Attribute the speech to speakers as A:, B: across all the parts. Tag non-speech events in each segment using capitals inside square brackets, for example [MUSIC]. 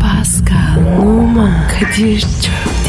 A: Pascal, Oman, Kadir çok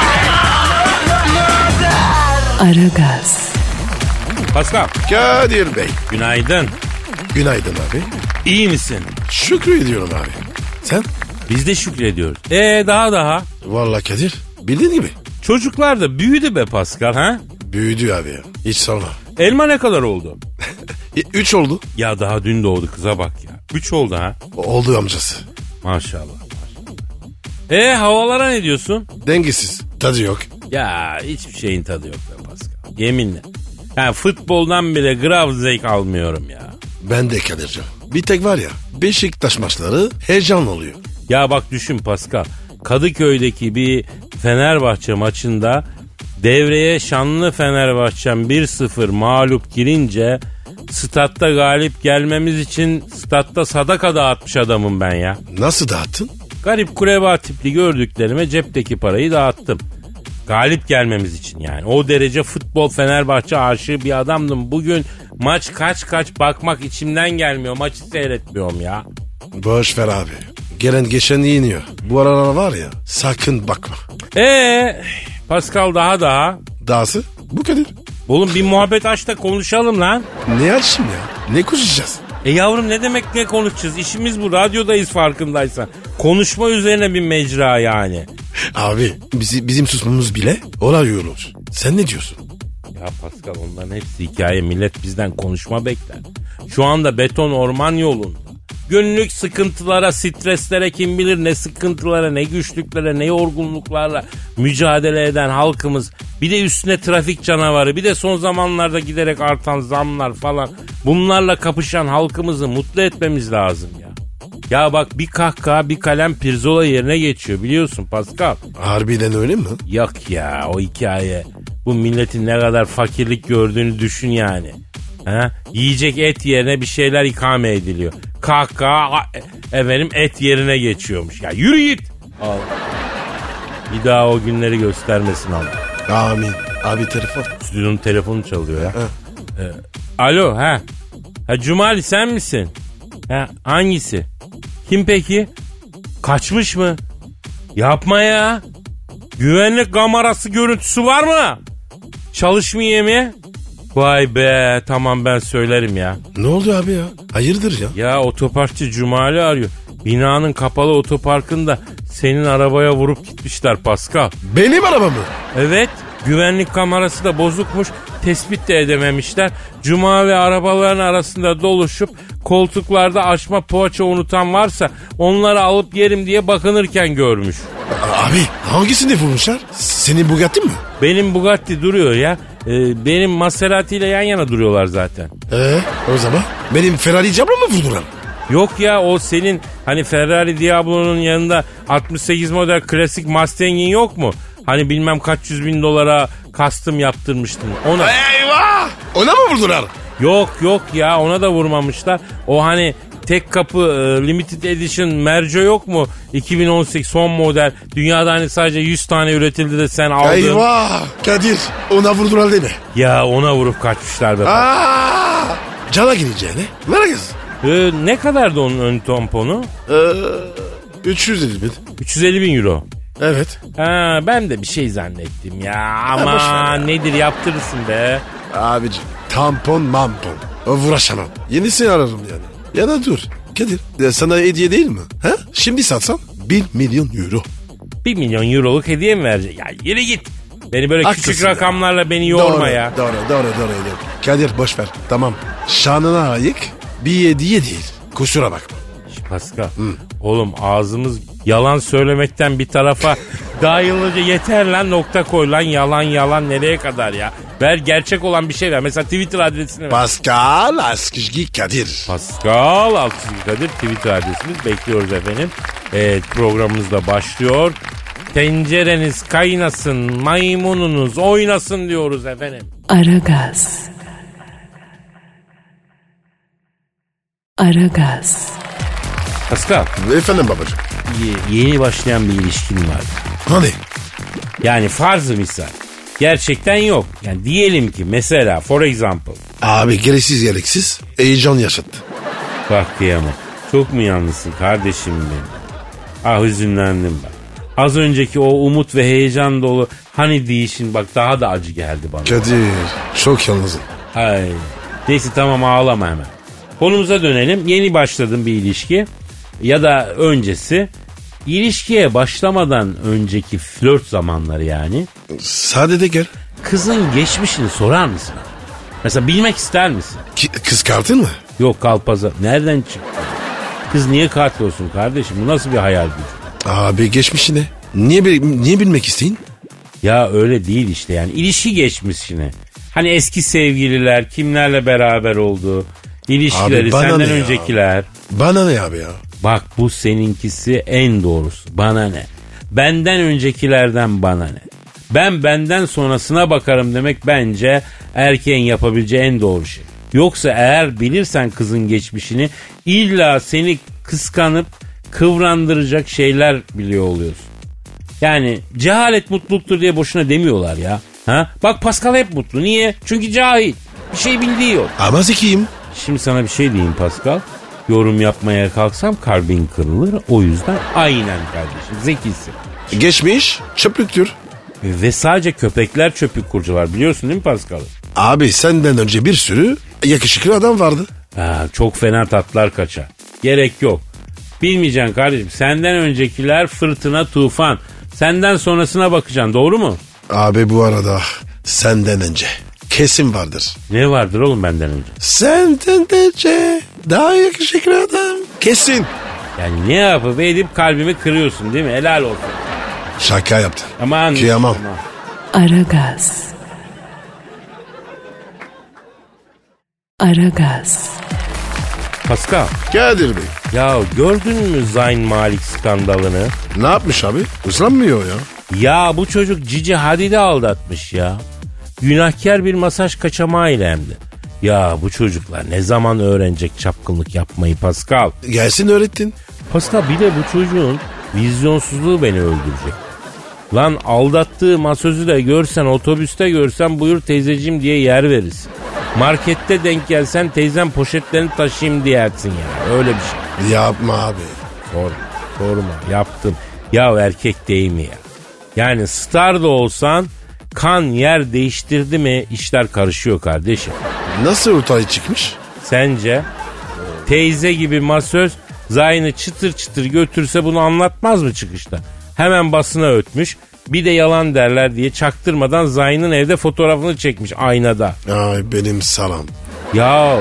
A: Aragaz,
B: Pascal.
C: Kadir Bey.
B: Günaydın.
C: Günaydın abi.
B: İyi misin?
C: Şükrü ediyorum abi. Sen?
B: Biz de şükrediyoruz. Ee daha daha.
C: Vallahi Kadir. Bildiğin gibi.
B: Çocuklar da büyüdü be Pascal ha?
C: Büyüdü abi ya. Hiç sorma.
B: Elma ne kadar oldu?
C: E, üç oldu.
B: Ya daha dün doğdu kıza bak ya. Üç oldu ha.
C: Oldu amcası.
B: Maşallah. E havalara ne diyorsun?
C: Dengesiz. Tadı yok.
B: Ya hiçbir şeyin tadı yok be Pascal. Yeminle. Yani futboldan bile grav zevk almıyorum ya.
C: Ben de Kadir'cim. Bir tek var ya Beşiktaş maçları heyecanlı oluyor.
B: Ya bak düşün Pascal. Kadıköy'deki bir Fenerbahçe maçında devreye şanlı Fenerbahçe'm 1-0 mağlup girince statta galip gelmemiz için statta sadaka dağıtmış adamım ben ya.
C: Nasıl dağıttın?
B: Garip kureba tipli gördüklerime cepteki parayı dağıttım. Galip gelmemiz için yani. O derece futbol Fenerbahçe aşığı bir adamdım. Bugün maç kaç kaç bakmak içimden gelmiyor. Maçı seyretmiyorum ya.
C: Boş ver abi. Gelen geçen yeniyor. Bu aralar var ya sakın bakma.
B: Ee Pascal daha daha.
C: Dahası bu Kadir.
B: Oğlum bir muhabbet aç da konuşalım lan.
C: Ne açayım ya? Ne konuşacağız?
B: E yavrum ne demek ne konuşacağız? İşimiz bu. Radyodayız farkındaysan. Konuşma üzerine bir mecra yani.
C: Abi bizi, bizim susmamız bile olay yorulur. Sen ne diyorsun?
B: Ya Pascal onların hepsi hikaye. Millet bizden konuşma bekler. Şu anda beton orman yolunda. Günlük sıkıntılara, streslere kim bilir ne sıkıntılara, ne güçlüklere, ne yorgunluklarla mücadele eden halkımız. Bir de üstüne trafik canavarı, bir de son zamanlarda giderek artan zamlar falan. Bunlarla kapışan halkımızı mutlu etmemiz lazım ya. Ya bak bir kahkaha bir kalem pirzola yerine geçiyor biliyorsun Pascal.
C: Harbiden öyle mi?
B: Yok ya o hikaye. Bu milletin ne kadar fakirlik gördüğünü düşün yani. Ha? Yiyecek et yerine bir şeyler ikame ediliyor. Kahkaha a- efendim et yerine geçiyormuş. Ya yürü git. Al. Bir daha o günleri göstermesin Allah.
C: Amin. Abi telefon.
B: Stüdyonun telefonu çalıyor ya. Ee, alo ha. Ha Cumali sen misin? Ha hangisi? Kim peki? Kaçmış mı? Yapma ya. Güvenlik kamerası görüntüsü var mı? Çalışmıyor mu? Vay be tamam ben söylerim ya.
C: Ne oldu abi ya? Hayırdır ya?
B: Ya otoparkçı Cumali arıyor. Binanın kapalı otoparkında senin arabaya vurup gitmişler Pascal.
C: Benim arabam mı?
B: Evet güvenlik kamerası da bozukmuş tespit de edememişler. Cuma ve arabaların arasında doluşup koltuklarda açma poğaça unutan varsa onları alıp yerim diye bakınırken görmüş.
C: A- Abi hangisini vurmuşlar? Senin Bugatti mi?
B: Benim Bugatti duruyor ya. Ee, benim Maserati ile yan yana duruyorlar zaten.
C: Ee, o zaman benim Ferrari camla mı vurdular?
B: Yok ya o senin hani Ferrari Diablo'nun yanında 68 model klasik Mustang'in yok mu? Hani bilmem kaç yüz bin dolara custom yaptırmıştın. Ona.
C: Eyvah! Ona mı vurdular?
B: Yok yok ya ona da vurmamışlar. O hani tek kapı e, limited edition merco yok mu? 2018 son model. Dünyada hani sadece 100 tane üretildi de sen aldın.
C: Eyvah! Kadir ona vurdular deme.
B: Ya ona vurup kaçmışlar be.
C: Aa! Cana gireceğine. Ver kız.
B: Ee, ne kadardı onun ön tamponu?
C: Ee, 300 dedi bir.
B: 350 bin euro.
C: Evet.
B: Ha, ben de bir şey zannettim ya. Ama
C: boş ver ya.
B: nedir yaptırırsın be.
C: Abicim tampon mampon. O uğraşamam. Yenisini ararım yani. Ya da dur. Kadir e, sana hediye değil mi? Ha? Şimdi satsam 1 milyon euro.
B: 1 milyon euroluk hediye mi verecek? Ya yürü git. Beni böyle küçük
C: Haklısın ya.
B: rakamlarla beni yorma
C: doğru,
B: ya.
C: Doğru doğru doğru. doğru. Kadir boş ver. Tamam. Şanına ayık bir hediye değil. Kusura bakma.
B: Pascal. Oğlum ağzımız yalan söylemekten bir tarafa dayılıca yeter lan nokta koy lan yalan yalan nereye kadar ya. Ver gerçek olan bir şey ver. Mesela Twitter adresini ver.
C: Pascal Askizgi Kadir.
B: Pascal Altçizgi Kadir Twitter adresimiz bekliyoruz efendim. Evet programımız da başlıyor. Tencereniz kaynasın, maymununuz oynasın diyoruz efendim.
A: Aragaz. Aragaz.
B: Pascal,
C: Efendim babacığım.
B: y- yeni başlayan bir ilişkin var.
C: Hani?
B: Yani farzı misal. Gerçekten yok. Yani diyelim ki mesela for example.
C: Abi gereksiz gereksiz heyecan yaşattı.
B: Bak kıyamam. Çok mu yalnızsın kardeşim benim? Ah hüzünlendim bak. Az önceki o umut ve heyecan dolu hani deyişin bak daha da acı geldi bana.
C: Kadir çok yalnızım.
B: Ay. Neyse tamam ağlama hemen. Konumuza dönelim. Yeni başladığın bir ilişki ya da öncesi. İlişkiye başlamadan önceki flört zamanları yani.
C: Sadede gel.
B: Kızın geçmişini sorar mısın? Mesela bilmek ister misin?
C: Ki, kıskardın mı?
B: Yok kalpaza. Nereden çıktı? Kız niye katil olsun kardeşim? Bu nasıl bir hayal gücü?
C: Abi geçmişine. Niye, bil- niye bilmek isteyin?
B: Ya öyle değil işte yani. İlişki geçmişini. Hani eski sevgililer, kimlerle beraber olduğu, ilişkileri,
C: Abi bana
B: senden
C: ne ya?
B: öncekiler.
C: Bana ne abi ya?
B: Bak bu seninkisi en doğrusu. Bana ne? Benden öncekilerden bana ne? Ben benden sonrasına bakarım demek bence erkeğin yapabileceği en doğru şey. Yoksa eğer bilirsen kızın geçmişini illa seni kıskanıp kıvrandıracak şeyler biliyor oluyorsun. Yani cehalet mutluluktur diye boşuna demiyorlar ya. Ha? Bak Pascal hep mutlu. Niye? Çünkü cahil. Bir şey bildiği yok.
C: Ama zekiyim.
B: Şimdi sana bir şey diyeyim Pascal. Yorum yapmaya kalksam kalbin kırılır. O yüzden aynen kardeşim zekisin.
C: Geçmiş çöplüktür.
B: Ve sadece köpekler çöpü kurcalar biliyorsun değil mi Pascal?
C: Abi senden önce bir sürü yakışıklı adam vardı.
B: Ha, çok fena tatlar kaçar. Gerek yok. Bilmeyeceksin kardeşim. Senden öncekiler fırtına tufan. Senden sonrasına bakacaksın doğru mu?
C: Abi bu arada senden önce kesin vardır.
B: Ne vardır oğlum benden önce?
C: Senden önce daha yakışıklı adam kesin.
B: Yani ne yapıp edip kalbimi kırıyorsun değil mi? Helal olsun.
C: Şaka yaptı.
B: Aman.
C: Kıyamam.
A: Aragaz. Aragaz.
B: Pascal.
C: Kadir Bey
B: Ya gördün mü Zayn Malik skandalını?
C: ne yapmış abi? Uzanmıyor ya.
B: Ya bu çocuk Cici Hadid'i aldatmış ya. Günahkar bir masaj kaçamağıyla hem de. Ya bu çocuklar ne zaman öğrenecek çapkınlık yapmayı Pascal?
C: Gelsin öğrettin.
B: Pascal bir de bu çocuğun vizyonsuzluğu beni öldürecek. Lan aldattığı masözü de görsen otobüste görsen buyur teyzeciğim diye yer verirsin. Markette denk gelsen teyzem poşetlerini taşıyayım diyersin yani öyle bir şey.
C: Yapma abi.
B: Sorma, sorma. Yaptım. Ya erkek değil mi ya? Yani star da olsan kan yer değiştirdi mi işler karışıyor kardeşim.
C: Nasıl ortaya çıkmış?
B: Sence teyze gibi masöz Zayn'ı çıtır çıtır götürse bunu anlatmaz mı çıkışta? Hemen basına ötmüş. Bir de yalan derler diye çaktırmadan Zayn'ın evde fotoğrafını çekmiş aynada.
C: Ay benim salam.
B: Ya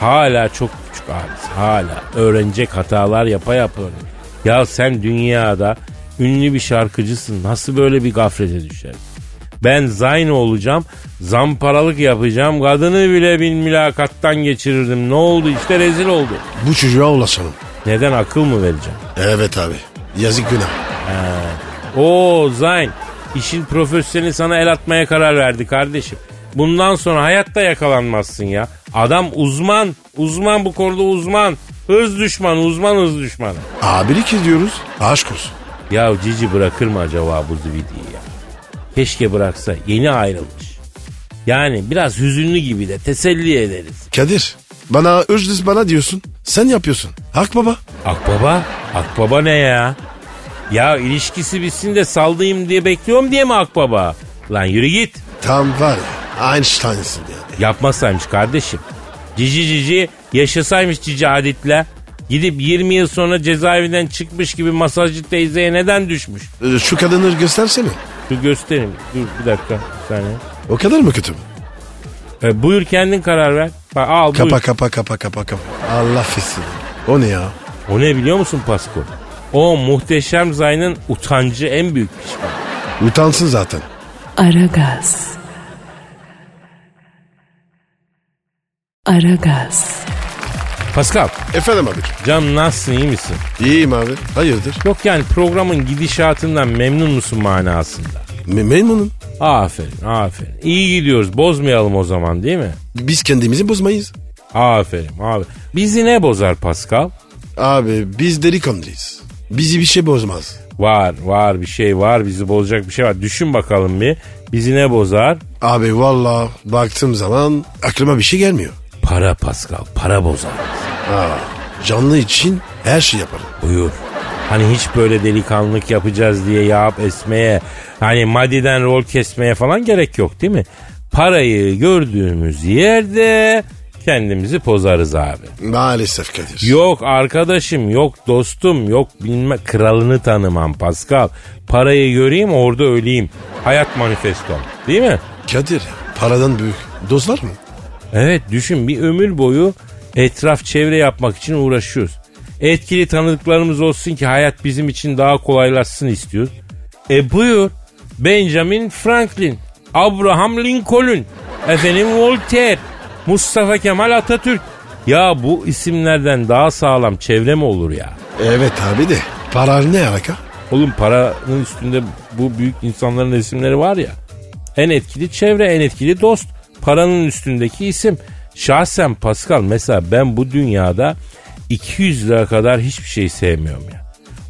B: hala çok küçük abi. Hala öğrenecek hatalar yapa yapa öğren- Ya sen dünyada ünlü bir şarkıcısın. Nasıl böyle bir gaflete düşersin? Ben Zayno olacağım. Zamparalık yapacağım. Kadını bile bir mülakattan geçirirdim. Ne oldu işte rezil oldu.
C: Bu çocuğa ulaşalım.
B: Neden akıl mı vereceğim?
C: Evet abi. Yazık günah.
B: Oo Zayn işin profesyoneli sana el atmaya karar verdi kardeşim. Bundan sonra hayatta yakalanmazsın ya. Adam uzman. Uzman bu konuda uzman. Hız düşmanı uzman hız düşmanı.
C: Abilik ediyoruz. Aşk olsun.
B: Ya Cici bırakır mı acaba bu zibidiyi ya? Keşke bıraksa yeni ayrılmış. Yani biraz hüzünlü gibi de teselli ederiz.
C: Kadir bana ücretsiz bana diyorsun. Sen yapıyorsun. Hak baba.
B: Akbaba? Akbaba ne ya? Ya ilişkisi bitsin de saldayım diye bekliyorum diye mi akbaba? Lan yürü git.
C: Tam var ya. Einstein'sın yani.
B: Yapmasaymış kardeşim. Cici cici yaşasaymış cici adetle. Gidip 20 yıl sonra cezaevinden çıkmış gibi masajcı teyzeye neden düşmüş?
C: Ee, Şu kadını göstersene.
B: Dur göstereyim. Dur bir dakika. Bir saniye.
C: O kadar mı kötü mü?
B: E, buyur kendin karar ver. Bak, al buyur.
C: Kapa kapa kapa kapa kapa. Allah fesini. O ne ya?
B: O ne biliyor musun Pasko? O muhteşem Zayn'ın utancı en büyük pişman.
C: Utansın zaten.
A: Aragaz. Aragaz.
B: Pascal,
C: Efendim abi.
B: canım nasılsın iyi misin?
C: İyiyim abi. Hayırdır?
B: Yok yani programın gidişatından memnun musun manasında?
C: Me memnunum.
B: Aferin, aferin. İyi gidiyoruz, bozmayalım o zaman değil mi?
C: Biz kendimizi bozmayız.
B: Aferin, abi. Bizi ne bozar Pascal?
C: Abi biz delikanlıyız. Bizi bir şey bozmaz.
B: Var, var bir şey var, bizi bozacak bir şey var. Düşün bakalım bir, bizi ne bozar?
C: Abi valla baktığım zaman aklıma bir şey gelmiyor.
B: Para Pascal, para bozar.
C: Aa, canlı için her şey yaparım.
B: Buyur. Hani hiç böyle delikanlılık yapacağız diye yağıp esmeye, hani madiden rol kesmeye falan gerek yok değil mi? Parayı gördüğümüz yerde kendimizi pozarız abi.
C: Maalesef Kadir.
B: Yok arkadaşım, yok dostum, yok bilme kralını tanımam Pascal. Parayı göreyim orada öleyim. Hayat manifesto değil mi?
C: Kadir paradan büyük. Dostlar mı?
B: Evet düşün bir ömür boyu etraf çevre yapmak için uğraşıyoruz. Etkili tanıdıklarımız olsun ki hayat bizim için daha kolaylaşsın istiyoruz. E buyur Benjamin Franklin, Abraham Lincoln, efendim Voltaire, Mustafa Kemal Atatürk. Ya bu isimlerden daha sağlam çevre mi olur ya?
C: Evet abi de para ne alaka?
B: Oğlum paranın üstünde bu büyük insanların isimleri var ya. En etkili çevre, en etkili dost. Paranın üstündeki isim. Şahsen Pascal mesela ben bu dünyada 200 lira kadar hiçbir şey sevmiyorum ya.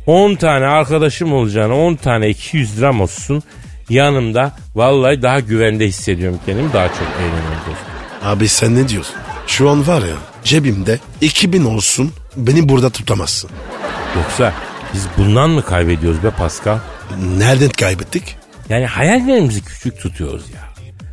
B: 10 tane arkadaşım olacağına 10 tane 200 liram olsun yanımda vallahi daha güvende hissediyorum kendimi daha çok eğleniyorum dostum.
C: Abi sen ne diyorsun? Şu an var ya cebimde 2000 olsun beni burada tutamazsın.
B: Yoksa biz bundan mı kaybediyoruz be Pascal?
C: Nereden kaybettik?
B: Yani hayallerimizi küçük tutuyoruz ya.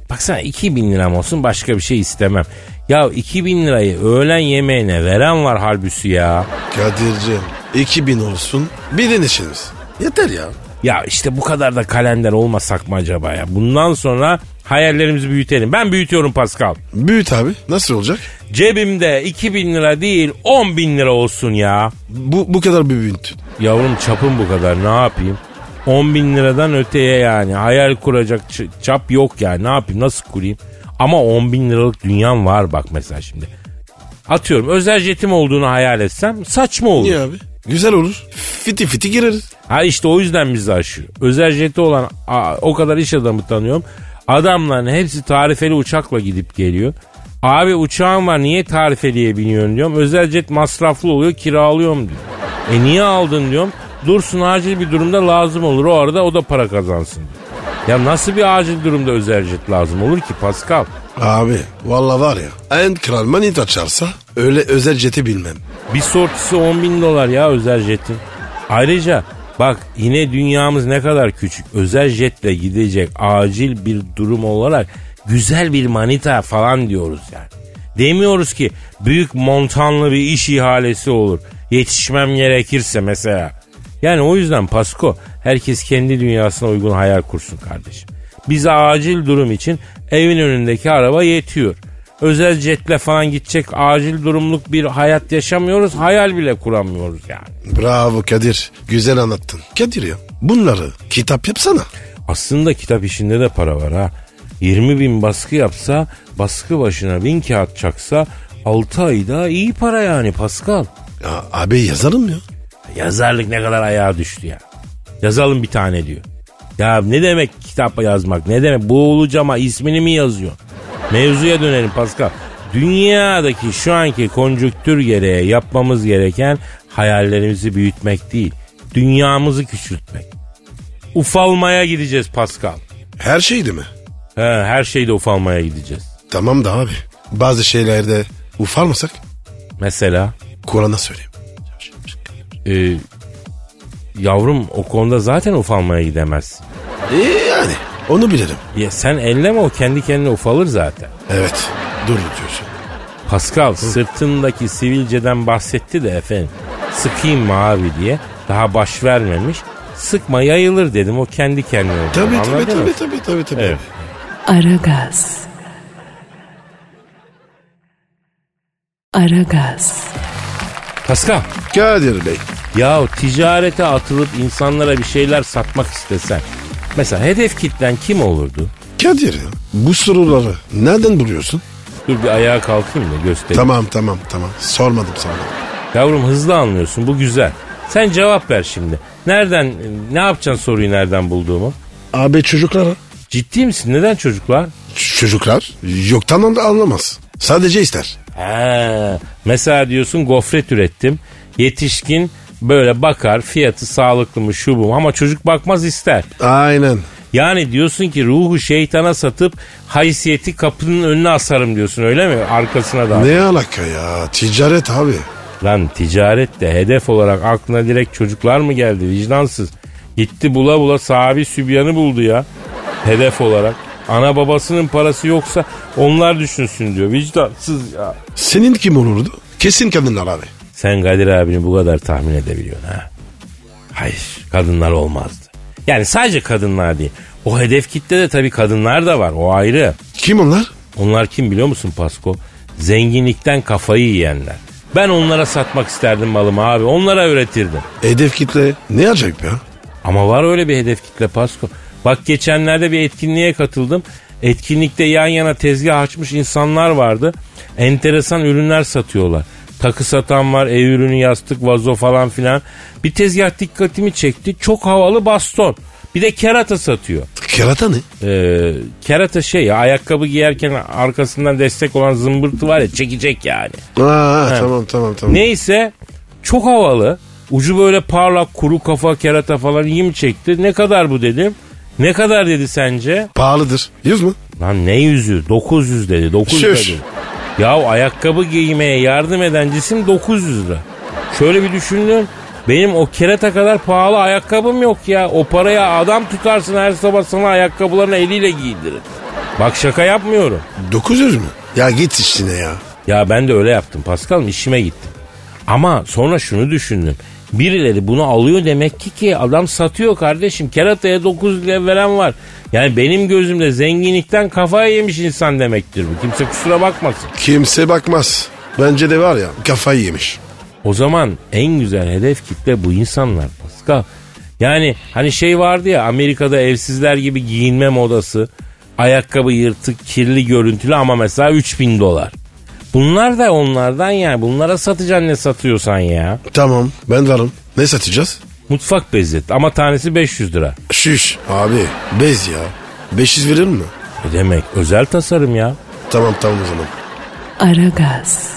B: Baksana 2000 liram olsun başka bir şey istemem. Ya 2000 lirayı öğlen yemeğine veren var halbüsü ya.
C: Kadir'cim 2000 olsun bir işimiz. Yeter ya.
B: Ya işte bu kadar da kalender olmasak mı acaba ya? Bundan sonra hayallerimizi büyütelim. Ben büyütüyorum Pascal.
C: Büyüt abi nasıl olacak?
B: Cebimde 2000 lira değil 10 bin lira olsun ya.
C: Bu, bu kadar bir büyüt.
B: Yavrum çapım bu kadar ne yapayım? 10 bin liradan öteye yani hayal kuracak ç- çap yok yani ne yapayım nasıl kurayım? Ama 10 bin liralık dünyam var bak mesela şimdi. Atıyorum özel jetim olduğunu hayal etsem saçma olur.
C: Niye abi? Güzel olur. Fiti fiti gireriz.
B: Ha işte o yüzden bizi aşıyor. Özel jeti olan a- o kadar iş adamı tanıyorum. Adamların hepsi tarifeli uçakla gidip geliyor. Abi uçağın var niye tarifeliye biniyorsun diyorum. Özel jet masraflı oluyor kiralıyorum diyor. E niye aldın diyorum. Dursun acil bir durumda lazım olur o arada o da para kazansın diyor. Ya nasıl bir acil durumda özel jet lazım olur ki Pascal?
C: Abi valla var ya en kral manita açarsa öyle özel jeti bilmem.
B: Bir sortisi 10 bin dolar ya özel jetin. Ayrıca bak yine dünyamız ne kadar küçük. Özel jetle gidecek acil bir durum olarak güzel bir manita falan diyoruz yani. Demiyoruz ki büyük montanlı bir iş ihalesi olur. Yetişmem gerekirse mesela. Yani o yüzden Pasko herkes kendi dünyasına uygun hayal kursun kardeşim. Bize acil durum için evin önündeki araba yetiyor. Özel jetle falan gidecek acil durumluk bir hayat yaşamıyoruz. Hayal bile kuramıyoruz yani.
C: Bravo Kadir. Güzel anlattın. Kadir ya bunları kitap yapsana.
B: Aslında kitap işinde de para var ha. 20 bin baskı yapsa baskı başına bin kağıt çaksa 6 ayda iyi para yani Pascal.
C: Ya, abi yazarım ya.
B: Yazarlık ne kadar ayağa düştü ya. Yazalım bir tane diyor. Ya ne demek kitap yazmak ne demek boğulacağıma ismini mi yazıyor? Mevzuya dönelim Pascal. Dünyadaki şu anki konjüktür gereği yapmamız gereken hayallerimizi büyütmek değil. Dünyamızı küçültmek. Ufalmaya gideceğiz Pascal.
C: Her şeydi mi?
B: He, her şeyde ufalmaya gideceğiz.
C: Tamam da abi. Bazı şeylerde ufarmasak
B: Mesela
C: Kur'an'a söyleyeyim.
B: e, yavrum o konuda zaten ufalmaya gidemezsin.
C: Ee, yani onu bilirim.
B: Ya sen elleme o kendi kendine ufalır zaten.
C: Evet doğru diyorsun.
B: Pascal sırtındaki sivilceden bahsetti de efendim. Sıkayım mı abi diye. Daha baş vermemiş. Sıkma yayılır dedim. O kendi kendine. oldu.
C: Tabii tabii
B: Anladın mı?
C: tabii, tabii tabii tabii.
B: Evet.
A: Aragaz. Aragaz.
B: Pascal.
C: Kadir Bey.
B: Ya ticarete atılıp insanlara bir şeyler satmak istesen. Mesela hedef kitlen kim olurdu?
C: Kadir ya, bu soruları nereden buluyorsun?
B: Dur bir ayağa kalkayım da göstereyim.
C: Tamam tamam tamam. Sormadım sormadım.
B: Yavrum hızlı anlıyorsun bu güzel. Sen cevap ver şimdi. Nereden ne yapacaksın soruyu nereden bulduğumu?
C: Abi çocuklara.
B: Ciddi misin? Neden çocuklar?
C: Ç- Çocuklar yoktan da anlamaz. Sadece ister.
B: Ha, mesela diyorsun gofret ürettim. Yetişkin böyle bakar fiyatı sağlıklı mı şu bu mu ama çocuk bakmaz ister.
C: Aynen.
B: Yani diyorsun ki ruhu şeytana satıp haysiyeti kapının önüne asarım diyorsun öyle mi? Arkasına da.
C: Ne alaka ya? Ticaret abi.
B: Lan ticarette hedef olarak aklına direkt çocuklar mı geldi vicdansız? Gitti bula bula sahibi sübyanı buldu ya. Hedef olarak. Ana babasının parası yoksa onlar düşünsün diyor. Vicdansız ya.
C: Senin kim olurdu? Kesin kadınlar abi.
B: Sen Kadir abini bu kadar tahmin edebiliyorsun ha. Hayır kadınlar olmazdı. Yani sadece kadınlar değil. O hedef kitle de tabii kadınlar da var o ayrı.
C: Kim onlar?
B: Onlar kim biliyor musun Pasko? Zenginlikten kafayı yiyenler. Ben onlara satmak isterdim malımı abi. Onlara üretirdim.
C: Hedef kitle ne acayip ya?
B: Ama var öyle bir hedef kitle Pasko. Bak geçenlerde bir etkinliğe katıldım. Etkinlikte yan yana tezgah açmış insanlar vardı. Enteresan ürünler satıyorlar. Takı satan var, ev ürünü, yastık, vazo falan filan. Bir tezgah dikkatimi çekti. Çok havalı baston. Bir de kerata satıyor.
C: Kerata ne?
B: Ee, kerata şey ya ayakkabı giyerken arkasından destek olan zımbırtı var ya çekecek yani.
C: Aa, tamam tamam tamam.
B: Neyse çok havalı. Ucu böyle parlak kuru kafa kerata falan iyi mi çekti? Ne kadar bu dedim. Ne kadar dedi sence?
C: Pahalıdır. Yüz mü?
B: Lan ne yüzü? 900 dedi. 900
C: Şuş.
B: dedi. Ya ayakkabı giymeye yardım eden cisim 900 lira. Şöyle bir düşündüm. Benim o kerata kadar pahalı ayakkabım yok ya. O paraya adam tutarsın her sabah sana ayakkabılarını eliyle giydirir. Bak şaka yapmıyorum.
C: 900 mü? Ya git işine ya.
B: Ya ben de öyle yaptım Paskal'ım işime gittim. Ama sonra şunu düşündüm. Birileri bunu alıyor demek ki ki adam satıyor kardeşim. Kerataya 9 lira veren var. Yani benim gözümde zenginlikten kafayı yemiş insan demektir bu. Kimse kusura bakmasın.
C: Kimse bakmaz. Bence de var ya kafayı yemiş.
B: O zaman en güzel hedef kitle bu insanlar Pascal. Yani hani şey vardı ya Amerika'da evsizler gibi giyinme modası. Ayakkabı yırtık, kirli görüntülü ama mesela 3000 dolar. Bunlar da onlardan yani. Bunlara satacaksın ne satıyorsan ya.
C: Tamam ben varım. Ne satacağız?
B: Mutfak bezet ama tanesi 500 lira.
C: Şiş abi bez ya. 500 verir mi?
B: Ne E demek? Özel tasarım ya.
C: Tamam tamam o zaman.
A: Aragaz.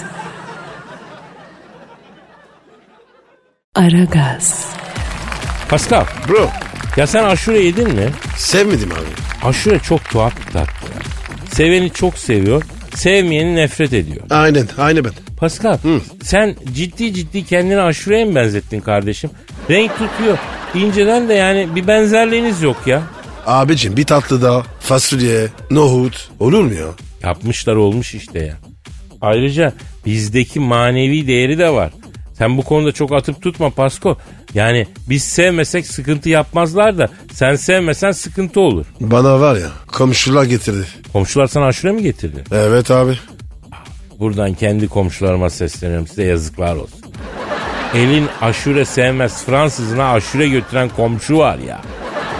A: Aragaz.
B: Pascal
C: Bro
B: ya sen aşure yedin mi?
C: sevmedim abi.
B: Aşure çok tuhaf bir tatlı. ya. Seveni çok seviyor, sevmeyeni nefret ediyor.
C: Aynen aynı ben.
B: Pascal sen ciddi ciddi kendini aşureye mi benzettin kardeşim? Renk tutuyor. İnceden de yani bir benzerliğiniz yok ya.
C: Abicim bir tatlı daha fasulye, nohut olur mu ya?
B: Yapmışlar olmuş işte ya. Ayrıca bizdeki manevi değeri de var. Sen bu konuda çok atıp tutma Pasko. Yani biz sevmesek sıkıntı yapmazlar da sen sevmesen sıkıntı olur.
C: Bana var ya komşular getirdi.
B: Komşular sana aşure mi getirdi?
C: Evet abi.
B: Buradan kendi komşularıma sesleniyorum size yazıklar olsun. Elin aşure sevmez Fransızına aşure götüren komşu var ya.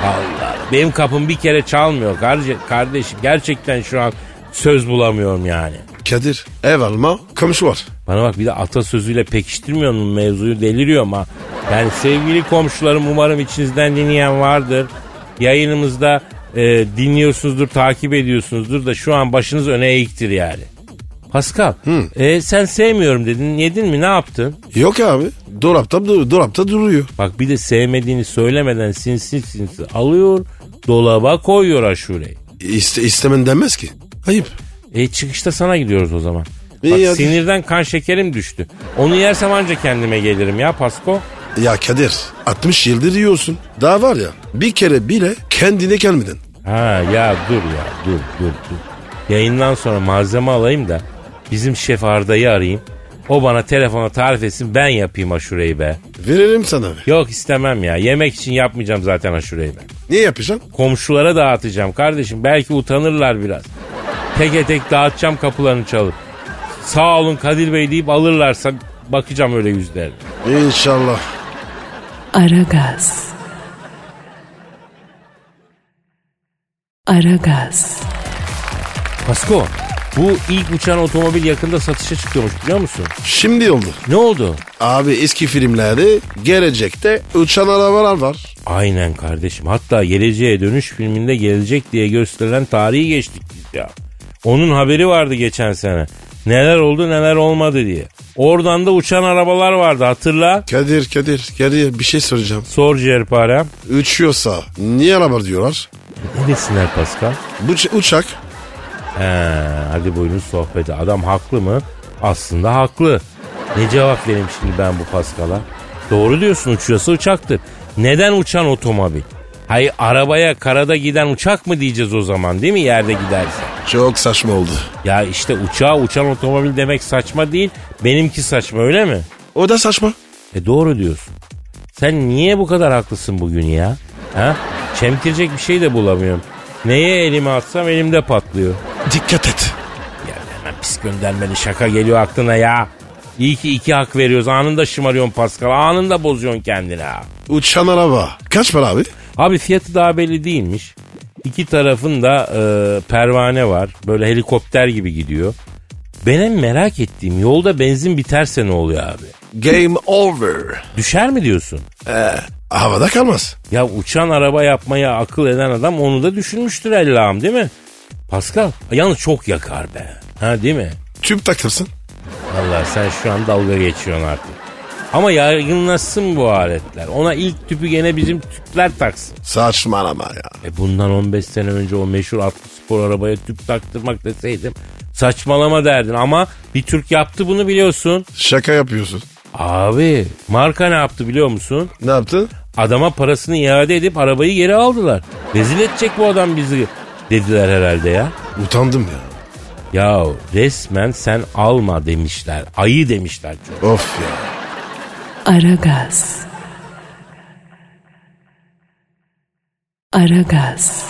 B: Allah benim kapım bir kere çalmıyor karde- kardeşim. Gerçekten şu an söz bulamıyorum yani.
C: Kadir ev alma komşu var.
B: Bana bak bir de atasözüyle pekiştirmiyor mu mevzuyu deliriyorum ha. Yani sevgili komşularım umarım içinizden dinleyen vardır. Yayınımızda e, dinliyorsunuzdur, takip ediyorsunuzdur da şu an başınız öne eğiktir yani. Pascal, e, sen sevmiyorum dedin, yedin mi, ne yaptın?
C: Yok abi dolapta, dolapta duruyor.
B: Bak bir de sevmediğini söylemeden sinsi sinsi alıyor, dolaba koyuyor aşureyi.
C: İste, istemen denmez ki. Ayıp.
B: E çıkışta sana gidiyoruz o zaman.
C: İyi
B: Bak
C: hadi.
B: sinirden kan şekerim düştü. Onu yersem anca kendime gelirim ya Pasko.
C: Ya Kadir 60 yıldır yiyorsun. Daha var ya bir kere bile kendine gelmedin.
B: Ha ya dur ya dur dur dur. Yayından sonra malzeme alayım da bizim şef Arda'yı arayayım. O bana telefona tarif etsin ben yapayım aşureyi be.
C: Verelim sana be.
B: Yok istemem ya yemek için yapmayacağım zaten aşureyi ben.
C: Niye yapacaksın?
B: Komşulara dağıtacağım kardeşim belki utanırlar biraz. Teke tek dağıtacağım kapılarını çalıp. Sağ olun Kadir Bey deyip alırlarsa bakacağım öyle yüzlerine.
C: İnşallah.
A: Aragaz. Aragaz.
B: Pasko Bu ilk uçan otomobil yakında satışa çıkıyormuş biliyor musun?
C: Şimdi oldu.
B: Ne oldu?
C: Abi eski filmlerde gelecekte uçan arabalar var.
B: Aynen kardeşim. Hatta Geleceğe Dönüş filminde gelecek diye gösterilen tarihi geçtik biz ya. Onun haberi vardı geçen sene. Neler oldu neler olmadı diye. Oradan da uçan arabalar vardı hatırla.
C: Kadir Kadir Kadir bir şey soracağım.
B: Sor Cerpare.
C: Uçuyorsa niye araba diyorlar?
B: Ne desinler Pascal?
C: Bu ç- uçak
B: He, hadi buyurun sohbete. Adam haklı mı? Aslında haklı. Ne cevap vereyim şimdi ben bu Paskal'a? Doğru diyorsun uçuyorsa uçaktır. Neden uçan otomobil? Hayır arabaya karada giden uçak mı diyeceğiz o zaman değil mi yerde giderse?
C: çok saçma oldu.
B: Ya işte uçağa uçan otomobil demek saçma değil. Benimki saçma öyle mi?
C: O da saçma.
B: E doğru diyorsun. Sen niye bu kadar haklısın bugün ya? Ha? Çemkirecek bir şey de bulamıyorum. Neye elimi atsam elimde patlıyor.
C: Dikkat et.
B: Ya hemen pis göndermeli şaka geliyor aklına ya. İyi ki iki hak veriyoruz. Anında şımarıyorsun Pascal. Anında bozuyorsun kendini ha.
C: Uçan araba. Kaç para abi?
B: Abi fiyatı daha belli değilmiş. İki tarafında e, pervane var. Böyle helikopter gibi gidiyor. Benim merak ettiğim yolda benzin biterse ne oluyor abi?
C: Game over.
B: Düşer mi diyorsun?
C: Havada kalmaz.
B: Ya uçan araba yapmaya akıl eden adam onu da düşünmüştür Allah'ım değil mi? Pascal yalnız çok yakar be. Ha değil mi?
C: Tüp takırsın.
B: Vallahi sen şu an dalga geçiyorsun artık. Ama yaygınlaşsın bu aletler. Ona ilk tüpü gene bizim tüpler taksın.
C: Saçmalama ya.
B: E bundan 15 sene önce o meşhur atlı spor arabaya tüp taktırmak deseydim saçmalama derdin ama bir Türk yaptı bunu biliyorsun.
C: Şaka yapıyorsun.
B: Abi marka ne yaptı biliyor musun?
C: Ne yaptın?
B: Adama parasını iade edip arabayı geri aldılar. Rezil edecek bu adam bizi dediler herhalde ya.
C: Utandım ya.
B: Ya resmen sen alma demişler. Ayı demişler çok.
C: Of ya.
A: Aragaz. Aragaz.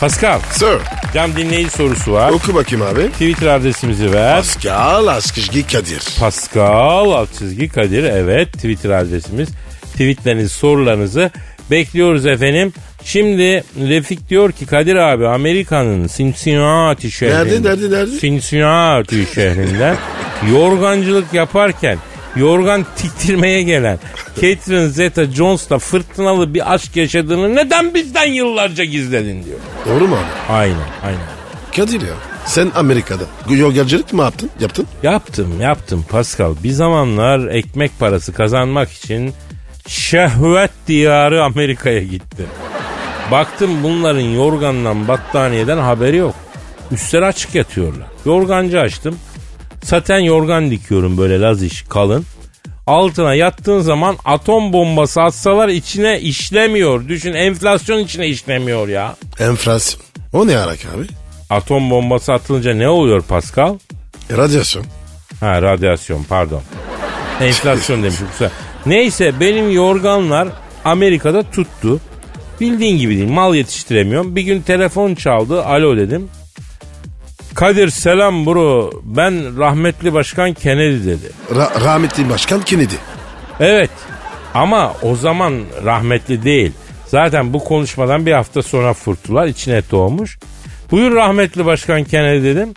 B: Pascal
C: Sir
B: cam dinleyici sorusu var.
C: oku bakayım abi.
B: Twitter adresimizi ver.
C: Pascal Askışgi Kadir.
B: Pascal alt çizgi Kadir evet Twitter adresimiz. Tweetlerinizi sorularınızı bekliyoruz efendim. Şimdi Refik diyor ki Kadir abi Amerika'nın Cincinnati şehrinde.
C: Nerede, nerede, nerede?
B: Cincinnati
C: [LAUGHS]
B: şehrinden yorgancılık yaparken yorgan tiktirmeye gelen Catherine Zeta Jones'la fırtınalı bir aşk yaşadığını neden bizden yıllarca gizledin diyor.
C: Doğru mu abi?
B: Aynen aynen.
C: Kadir ya. Sen Amerika'da yolgacılık mı yaptın? Yaptın.
B: Yaptım yaptım Pascal. Bir zamanlar ekmek parası kazanmak için şehvet diyarı Amerika'ya gitti. Baktım bunların yorgandan battaniyeden haberi yok. Üstleri açık yatıyorlar. Yorgancı açtım. Saten yorgan dikiyorum böyle laz iş kalın. Altına yattığın zaman atom bombası atsalar içine işlemiyor. Düşün enflasyon içine işlemiyor ya.
C: Enflasyon. O ne arak abi?
B: Atom bombası atılınca ne oluyor Pascal?
C: Radyasyon.
B: Ha radyasyon pardon. Enflasyon demişim kusura. Neyse benim yorganlar Amerika'da tuttu. Bildiğin gibi değil mal yetiştiremiyorum. Bir gün telefon çaldı alo dedim. Kadir selam bro ben rahmetli başkan Kennedy dedi.
C: Ra- rahmetli başkan Kennedy.
B: Evet ama o zaman rahmetli değil. Zaten bu konuşmadan bir hafta sonra fırtılar içine doğmuş. Buyur rahmetli başkan Kennedy dedim.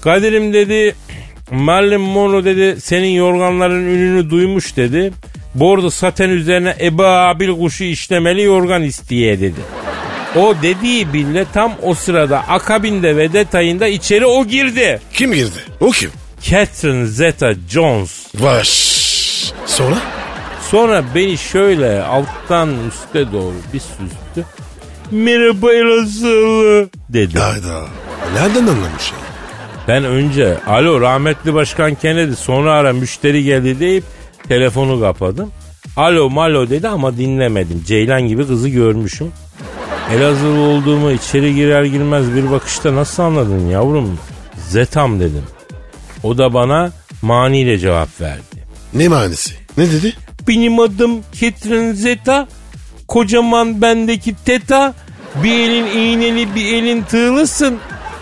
B: Kadir'im dedi Marilyn Monroe dedi senin yorganların ününü duymuş dedi. Bordo saten üzerine ebabil kuşu işlemeli yorgan isteye dedi. O dediği bile tam o sırada akabinde ve detayında içeri o girdi.
C: Kim girdi? O kim?
B: Catherine Zeta Jones
C: Baş. Sonra?
B: Sonra beni şöyle alttan üste doğru bir süzdü. Merhaba nasıl? dedi.
C: Hayda. Nereden anlamış ya?
B: Ben önce alo rahmetli başkan Kennedy sonra ara müşteri geldi deyip telefonu kapadım. Alo malo dedi ama dinlemedim. Ceylan gibi kızı görmüşüm. Elazığlı olduğumu içeri girer girmez bir bakışta nasıl anladın yavrum? Zetam dedim. O da bana maniyle cevap verdi.
C: Ne manisi? Ne dedi?
B: Benim adım Ketrin Zeta. Kocaman bendeki teta. Bir elin iğneli bir elin tığlısın.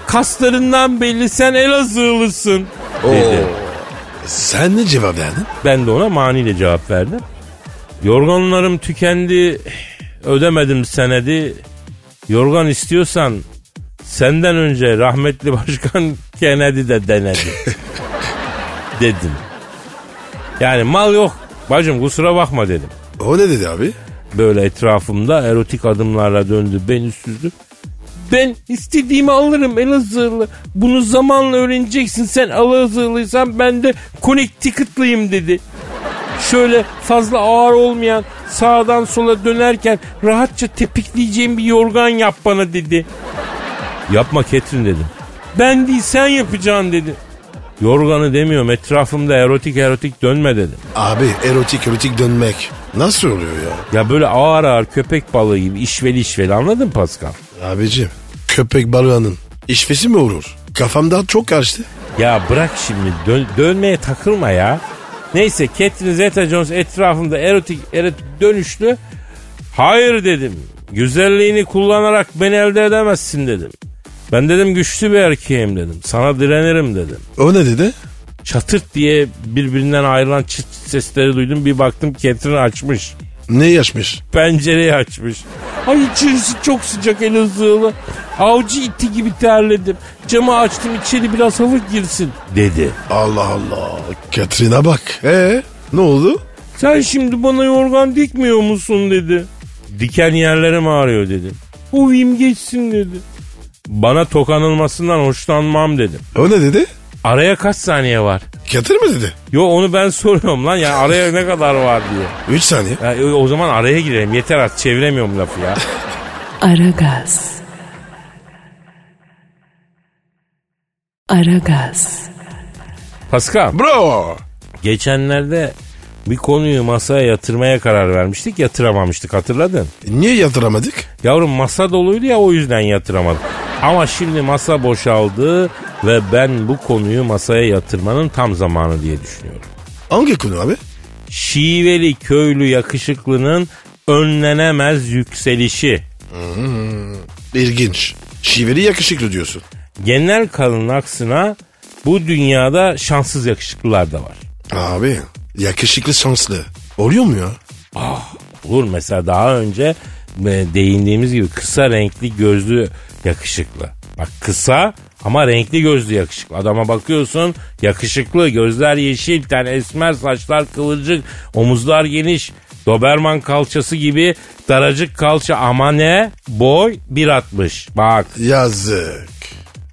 B: Kaslarından belli sen Elazığlısın. Dedi.
C: Sen ne cevap verdin?
B: Ben de ona maniyle cevap verdim. Yorganlarım tükendi. Ödemedim senedi. Yorgan istiyorsan Senden önce rahmetli başkan [LAUGHS] Kennedy de denedi. dedim. Yani mal yok. Bacım kusura bakma dedim.
C: O ne dedi abi?
B: Böyle etrafımda erotik adımlarla döndü. Beni süzdü. Ben istediğimi alırım Elazığlı. Bunu zamanla öğreneceksin. Sen Elazığlıysan ben de Connecticut'lıyım dedi. Şöyle fazla ağır olmayan sağdan sola dönerken rahatça tepikleyeceğim bir yorgan yap bana dedi. Yapma Ketrin dedim. Ben değil sen yapacaksın dedi. Yorganı demiyorum etrafımda erotik erotik dönme dedim.
C: Abi erotik erotik dönmek. Nasıl oluyor ya?
B: Ya böyle ağır ağır köpek balığı gibi işveli işveli anladın Pascal?
C: Abicim köpek balığının işvesi mi olur? Kafamda çok karıştı.
B: Ya bırak şimdi dön- dönmeye takılma ya. Neyse Catherine Zeta-Jones etrafında erotik erotik dönüştü. Hayır dedim. Güzelliğini kullanarak beni elde edemezsin dedim. Ben dedim güçlü bir erkeğim dedim. Sana direnirim dedim.
C: O ne dedi?
B: Çatırt diye birbirinden ayrılan çıt çıt sesleri duydum. Bir baktım Catherine açmış.
C: Ne yaşmış?
B: Pencereyi açmış. Ay içerisi çok sıcak Elazığlı. Avcı iti gibi terledim. Camı açtım içeri biraz hava girsin dedi.
C: Allah Allah. Katrina bak. Ee ne oldu?
B: Sen şimdi bana yorgan dikmiyor musun dedi. Diken yerlerim ağrıyor dedi. Ovayım geçsin dedi. Bana tokanılmasından hoşlanmam dedim.
C: O ne dedi?
B: Araya kaç saniye var?
C: Katır mı dedi?
B: Yo onu ben [LAUGHS] soruyorum lan ya araya ne kadar var diye.
C: 3 saniye.
B: Ya, e, o zaman araya girelim yeter artık çeviremiyorum lafı ya.
A: Aragaz. Aragaz.
B: Pascal
C: Bro.
B: geçenlerde bir konuyu masaya yatırmaya karar vermiştik yatıramamıştık hatırladın.
C: Niye yatıramadık?
B: Yavrum masa doluydu ya o yüzden yatıramadım. Ama şimdi masa boşaldı ve ben bu konuyu masaya yatırmanın tam zamanı diye düşünüyorum.
C: Hangi konu abi?
B: Şiveli köylü yakışıklının önlenemez yükselişi.
C: İlginç. Şiveli yakışıklı diyorsun.
B: Genel kalın aksına bu dünyada şanssız yakışıklılar da var.
C: Abi yakışıklı şanslı. Oluyor mu ya?
B: Olur mesela daha önce e, değindiğimiz gibi kısa renkli gözlü yakışıklı. Bak kısa ama renkli gözlü yakışıklı. Adama bakıyorsun yakışıklı, gözler yeşil, ten esmer, saçlar kıvırcık, omuzlar geniş. Doberman kalçası gibi daracık kalça ama ne? Boy 1.60. Bak
C: Yazık.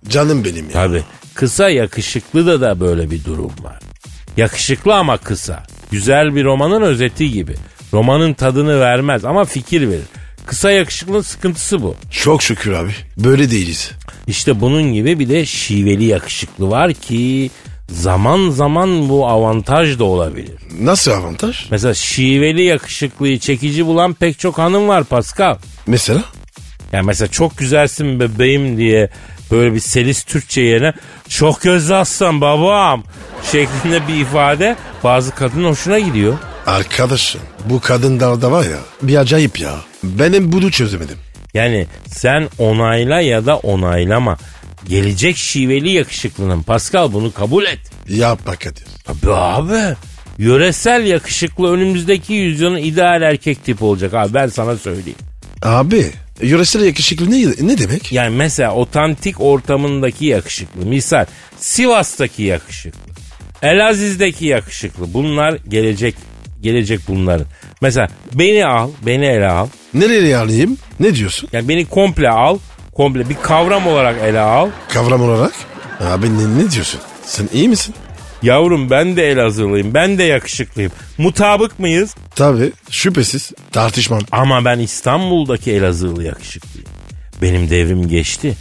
C: Canım benim ya.
B: Tabii. Kısa yakışıklı da da böyle bir durum var. Yakışıklı ama kısa. Güzel bir romanın özeti gibi. Romanın tadını vermez ama fikir verir. Kısa yakışıklının sıkıntısı bu.
C: Çok şükür abi. Böyle değiliz.
B: İşte bunun gibi bir de şiveli yakışıklı var ki zaman zaman bu avantaj da olabilir.
C: Nasıl avantaj?
B: Mesela şiveli yakışıklıyı çekici bulan pek çok hanım var Pascal.
C: Mesela?
B: Yani mesela çok güzelsin bebeğim diye böyle bir selis Türkçe yerine çok gözlü aslan babam şeklinde bir ifade bazı kadın hoşuna gidiyor.
C: Arkadaşım bu kadınlarda var ya bir acayip ya. Benim bunu çözemedim.
B: Yani sen onayla ya da onaylama. Gelecek şiveli yakışıklının Pascal bunu kabul et.
C: Yapma Kadir.
B: Tabii abi. Yöresel yakışıklı önümüzdeki yüzyılın ideal erkek tipi olacak abi ben sana söyleyeyim.
C: Abi yöresel yakışıklı ne, ne demek?
B: Yani mesela otantik ortamındaki yakışıklı. Misal Sivas'taki yakışıklı. Elaziz'deki yakışıklı. Bunlar gelecek gelecek bunların. Mesela beni al, beni ele al.
C: Nereye alayım? Ne diyorsun?
B: Yani beni komple al. Komple bir kavram olarak ele al.
C: Kavram olarak? Abi ne, ne diyorsun? Sen iyi misin?
B: Yavrum ben de Elazığlıyım. Ben de yakışıklıyım. Mutabık mıyız?
C: Tabii şüphesiz tartışmam.
B: Ama ben İstanbul'daki Elazığlı yakışıklıyım. Benim devrim geçti.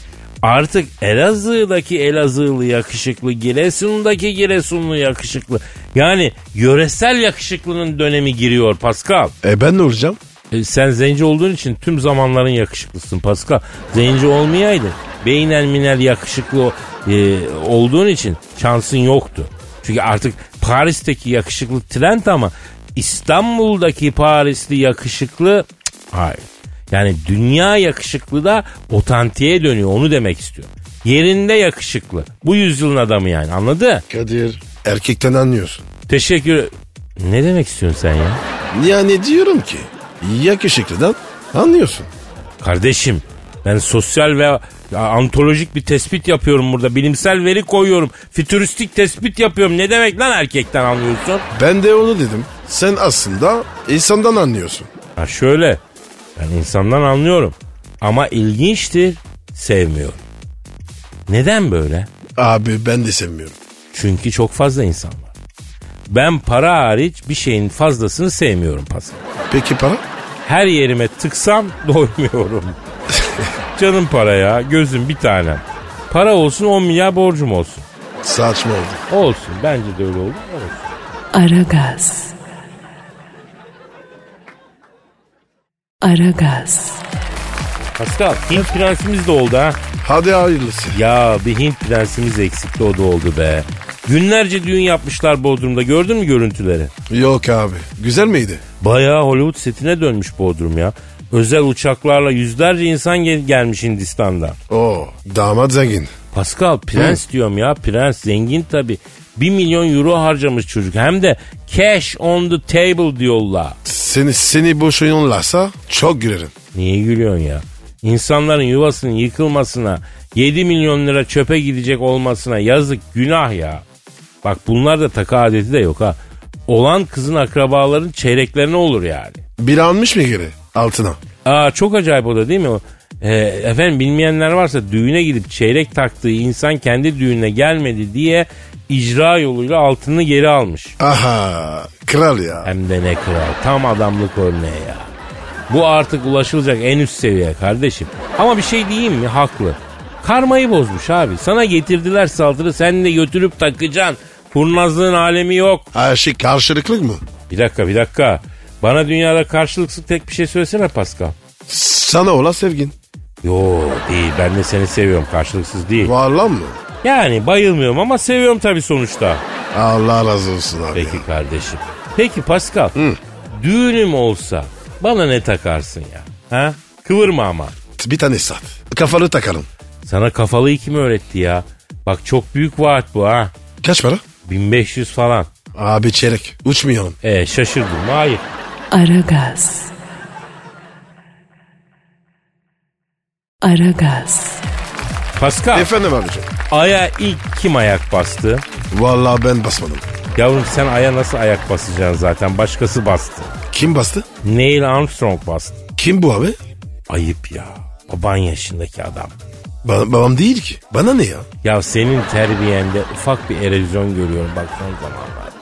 B: Artık Elazığ'daki Elazığlı yakışıklı, Giresun'daki Giresunlu yakışıklı. Yani yöresel yakışıklının dönemi giriyor Pascal.
C: E ben ne olacağım?
B: E, sen zenci olduğun için tüm zamanların yakışıklısın Pascal. Zenci olmayaydın. Beynel minel yakışıklı e, olduğun için şansın yoktu. Çünkü artık Paris'teki yakışıklı trend ama İstanbul'daki Parisli yakışıklı cık, hayır. Yani dünya yakışıklı da otantiğe dönüyor onu demek istiyor. Yerinde yakışıklı. Bu yüzyılın adamı yani anladı?
C: Kadir. Erkekten anlıyorsun.
B: Teşekkür... Ne demek istiyorsun sen ya?
C: Yani diyorum ki yakışıklıdan anlıyorsun.
B: Kardeşim Ben sosyal ve ya, antolojik bir tespit yapıyorum burada. Bilimsel veri koyuyorum. Fütüristik tespit yapıyorum. Ne demek lan erkekten anlıyorsun?
C: Ben de onu dedim. Sen aslında insandan anlıyorsun.
B: Ha şöyle. Ben insandan anlıyorum. Ama ilginçtir. Sevmiyorum. Neden böyle?
C: Abi ben de sevmiyorum.
B: Çünkü çok fazla insan var. Ben para hariç bir şeyin fazlasını sevmiyorum Pascal.
C: Peki para?
B: Her yerime tıksam [LAUGHS] doymuyorum. Canım para ya. Gözüm bir tanem. Para olsun 10 milyar borcum olsun.
C: Saçma oldu.
B: Olsun. Bence de öyle olur. Olsun.
A: Aragaz. Aragaz.
B: Pascal Hint prensimiz de oldu ha.
C: Hadi hayırlısı.
B: Ya bir Hint prensimiz eksikti o da oldu be. Günlerce düğün yapmışlar Bodrum'da gördün mü görüntüleri?
C: Yok abi. Güzel miydi?
B: Bayağı Hollywood setine dönmüş Bodrum ya. Özel uçaklarla yüzlerce insan gel- gelmiş Hindistan'dan.
C: Oo damat zengin.
B: Pascal prens diyorum ya prens zengin tabi. 1 milyon euro harcamış çocuk hem de cash on the table diyorlar.
C: Seni seni boşuyorlarsa çok gülerim.
B: Niye gülüyorsun ya? İnsanların yuvasının yıkılmasına, 7 milyon lira çöpe gidecek olmasına yazık günah ya. Bak bunlar da takı adeti de yok ha. Olan kızın akrabaların çeyreklerine olur yani.
C: Biri almış mı geri altına?
B: Aa çok acayip o da değil mi? o? Ee, efendim bilmeyenler varsa düğüne gidip çeyrek taktığı insan kendi düğününe gelmedi diye icra yoluyla altını geri almış.
C: Aha kral ya.
B: Hem de ne kral. Tam adamlık örneği ya. Bu artık ulaşılacak en üst seviye kardeşim. Ama bir şey diyeyim mi? Haklı. Karmayı bozmuş abi. Sana getirdiler saldırı sen de götürüp takacaksın. Kurnazlığın alemi yok.
C: Her şey karşılıklı mı?
B: Bir dakika bir dakika. Bana dünyada karşılıksız tek bir şey söylesene Pascal.
C: Sana olan sevgin.
B: Yo değil ben de seni seviyorum karşılıksız değil.
C: Var lan mı?
B: Yani bayılmıyorum ama seviyorum tabii sonuçta.
C: Allah razı olsun abi.
B: Peki
C: ya.
B: kardeşim. Peki Pascal. Düğünüm olsa bana ne takarsın ya? Ha? Kıvırma ama.
C: Bir tane sat. Kafanı takarım.
B: Sana kafalıyı kim öğretti ya? Bak çok büyük vaat bu ha.
C: Kaç para?
B: 1500 falan.
C: Abi çeyrek. Uçmayalım.
B: E şaşırdım mı? Hayır.
A: Aragaz. Aragaz.
B: Pascal,
C: Efendim abicim.
B: Ay'a ilk kim ayak bastı?
C: Vallahi ben basmadım.
B: Yavrum sen Ay'a nasıl ayak basacaksın zaten? Başkası bastı.
C: Kim bastı?
B: Neil Armstrong bastı.
C: Kim bu abi?
B: Ayıp ya. Baban yaşındaki adam.
C: Ba- babam değil ki. Bana ne ya?
B: Ya senin terbiyende ufak bir erozyon görüyorum bak son zamanlarda.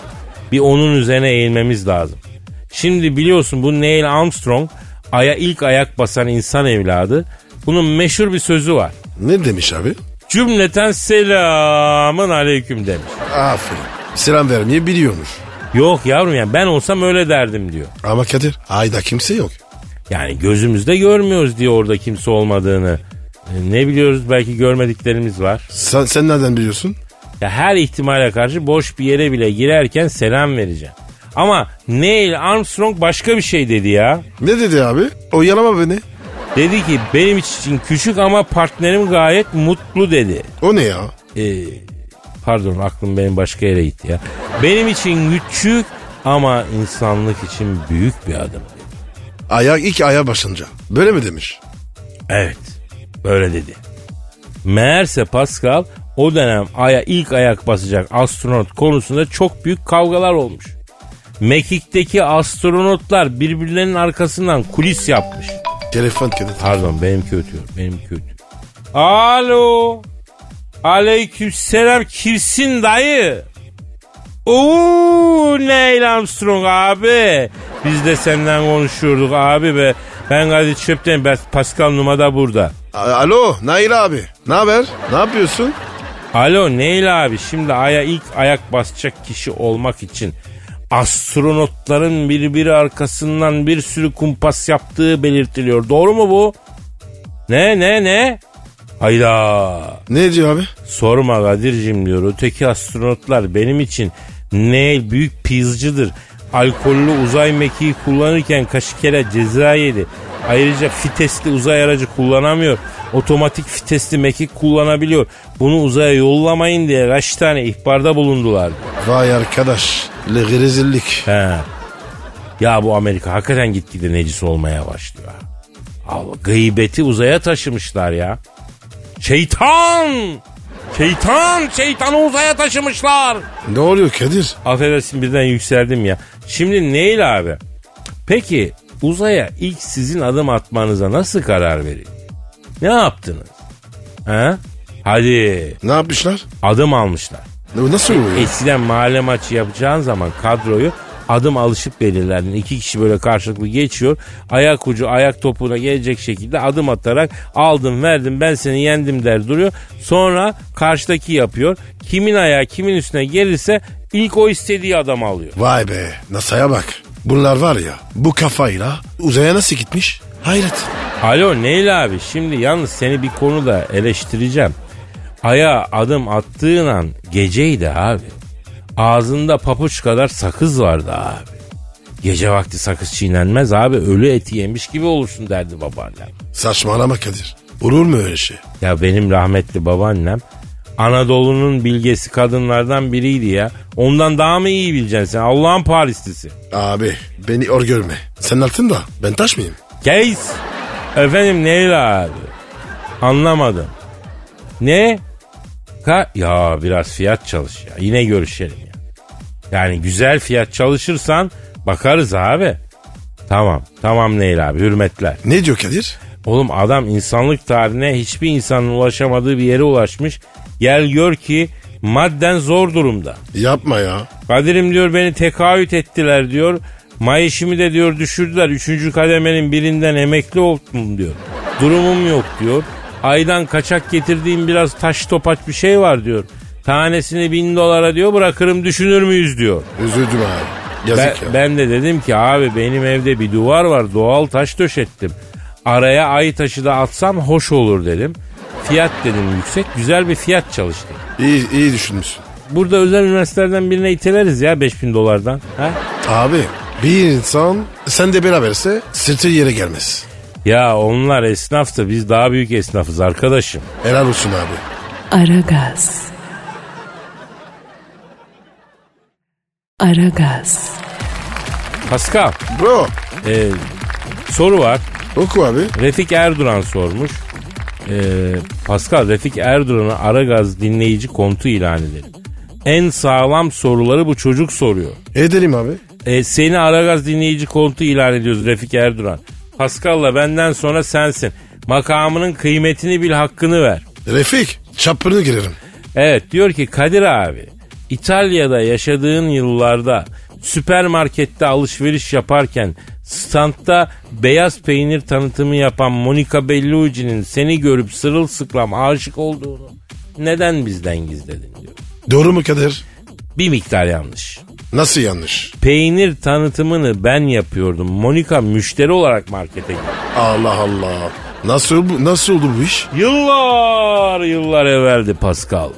B: Bir onun üzerine eğilmemiz lazım. Şimdi biliyorsun bu Neil Armstrong aya ilk ayak basan insan evladı. Bunun meşhur bir sözü var.
C: Ne demiş abi?
B: Cümleten selamın aleyküm demiş.
C: Aferin. Selam vermeyi biliyormuş.
B: Yok yavrum yani ben olsam öyle derdim diyor.
C: Ama Kadir ayda kimse yok.
B: Yani gözümüzde görmüyoruz diyor orada kimse olmadığını. E, Ne biliyoruz belki görmediklerimiz var.
C: Sen, sen nereden biliyorsun?
B: Ya her ihtimale karşı boş bir yere bile girerken selam vereceğim. Ama Neil Armstrong başka bir şey dedi ya.
C: Ne dedi abi? Oyalama beni.
B: Dedi ki benim için küçük ama partnerim gayet mutlu dedi.
C: O ne ya?
B: Ee, pardon aklım benim başka yere gitti ya. Benim için küçük ama insanlık için büyük bir adım.
C: Ayak ilk aya başınca. Böyle mi demiş?
B: Evet böyle dedi. Meğerse Pascal o dönem aya ilk ayak basacak astronot konusunda çok büyük kavgalar olmuş. Mekik'teki astronotlar birbirlerinin arkasından kulis yapmış.
C: Telefon Kadir.
B: Pardon benim kötü. Benim kötü. Alo. Aleykümselam kimsin dayı? Oo Neil Armstrong abi. Biz de senden konuşuyorduk abi be. Ben Kadir Çöp'ten ben Pascal Numa da burada.
C: A- Alo Nail abi. Ne haber? Ne yapıyorsun?
B: Alo Neil abi şimdi aya ilk ayak basacak kişi olmak için astronotların birbiri arkasından bir sürü kumpas yaptığı belirtiliyor. Doğru mu bu? Ne ne ne? Hayda.
C: Ne diyor abi?
B: Sorma Kadir'cim diyor. Öteki astronotlar benim için Neil büyük pizcıdır. Alkollü uzay mekiği kullanırken kaç kere ceza yedi. Ayrıca fitesli uzay aracı kullanamıyor. Otomatik fitesli mekik kullanabiliyor. Bunu uzaya yollamayın diye kaç tane ihbarda bulundular.
C: Vay arkadaş. Le rezillik.
B: He. Ya bu Amerika hakikaten gitgide necis olmaya başlıyor. ha. Al, gıybeti uzaya taşımışlar ya. Şeytan! Şeytan! Şeytanı uzaya taşımışlar!
C: Ne oluyor Kadir?
B: Affedersin birden yükseldim ya. Şimdi Neil abi. Peki uzaya ilk sizin adım atmanıza nasıl karar verildi? Ne yaptınız? Ha? Hadi
C: Ne yapmışlar?
B: adım almışlar.
C: Ne- Nasıl oluyor?
B: Eskiden mahalle maçı yapacağın zaman kadroyu adım alışıp belirlerdin. İki kişi böyle karşılıklı geçiyor. Ayak ucu ayak topuğuna gelecek şekilde adım atarak aldım verdim ben seni yendim der duruyor. Sonra karşıdaki yapıyor. Kimin ayağı kimin üstüne gelirse ilk o istediği adamı alıyor.
C: Vay be NASA'ya bak. Bunlar var ya bu kafayla uzaya nasıl gitmiş? Hayret.
B: Alo Neil abi şimdi yalnız seni bir konuda eleştireceğim. Aya adım attığın an geceydi abi. Ağzında papuç kadar sakız vardı abi. Gece vakti sakız çiğnenmez abi ölü eti yemiş gibi olursun derdi babaannem.
C: Saçmalama Kadir. Olur mu öyle şey?
B: Ya benim rahmetli babaannem Anadolu'nun bilgesi kadınlardan biriydi ya. Ondan daha mı iyi bileceksin sen Allah'ın Parislisi.
C: Abi beni or görme. Sen altında ben taş mıyım?
B: Case. Efendim Neil abi? Anlamadım. Ne? Ka ya biraz fiyat çalış ya. Yine görüşelim ya. Yani güzel fiyat çalışırsan bakarız abi. Tamam. Tamam Neil abi. Hürmetler.
C: Ne diyor Kadir?
B: Oğlum adam insanlık tarihine hiçbir insanın ulaşamadığı bir yere ulaşmış. Gel gör ki madden zor durumda.
C: Yapma ya.
B: Kadir'im diyor beni tekaüt ettiler diyor. Mayışımı de diyor düşürdüler. Üçüncü kademenin birinden emekli oldum diyor. Durumum yok diyor. Aydan kaçak getirdiğim biraz taş topaç bir şey var diyor. Tanesini bin dolara diyor bırakırım düşünür müyüz diyor.
C: Üzüldüm abi.
B: Ben,
C: Yazık ya.
B: ben de dedim ki abi benim evde bir duvar var doğal taş döşettim. Araya ay taşı da atsam hoş olur dedim. Fiyat dedim yüksek güzel bir fiyat çalıştım.
C: İyi, iyi düşünmüşsün.
B: Burada özel üniversitelerden birine iteleriz ya 5000 dolardan. Ha?
C: Abi bir insan sen de beraberse sırtı yere gelmez.
B: Ya onlar esnaf da biz daha büyük esnafız arkadaşım.
C: Helal olsun abi.
A: Aragaz. Aragaz.
B: Pascal
C: Bro
B: e, soru var.
C: oku abi.
B: Refik Erduran sormuş. E, Pascal Refik Erduran'a Aragaz dinleyici kontu ilan edelim. En sağlam soruları bu çocuk soruyor.
C: Edelim abi.
B: E, seni Aragaz dinleyici kontu ilan ediyoruz Refik Erduran. Pascal'la benden sonra sensin. Makamının kıymetini bil hakkını ver.
C: Refik çapını girerim.
B: Evet diyor ki Kadir abi İtalya'da yaşadığın yıllarda süpermarkette alışveriş yaparken standta beyaz peynir tanıtımı yapan Monica Bellucci'nin seni görüp sırılsıklam aşık olduğunu neden bizden gizledin diyor.
C: Doğru mu Kadir?
B: Bir miktar yanlış.
C: Nasıl yanlış?
B: Peynir tanıtımını ben yapıyordum. Monica müşteri olarak markete girdi.
C: Allah Allah. Nasıl bu, nasıl oldu bu iş?
B: Yıllar yıllar evveldi Pascal.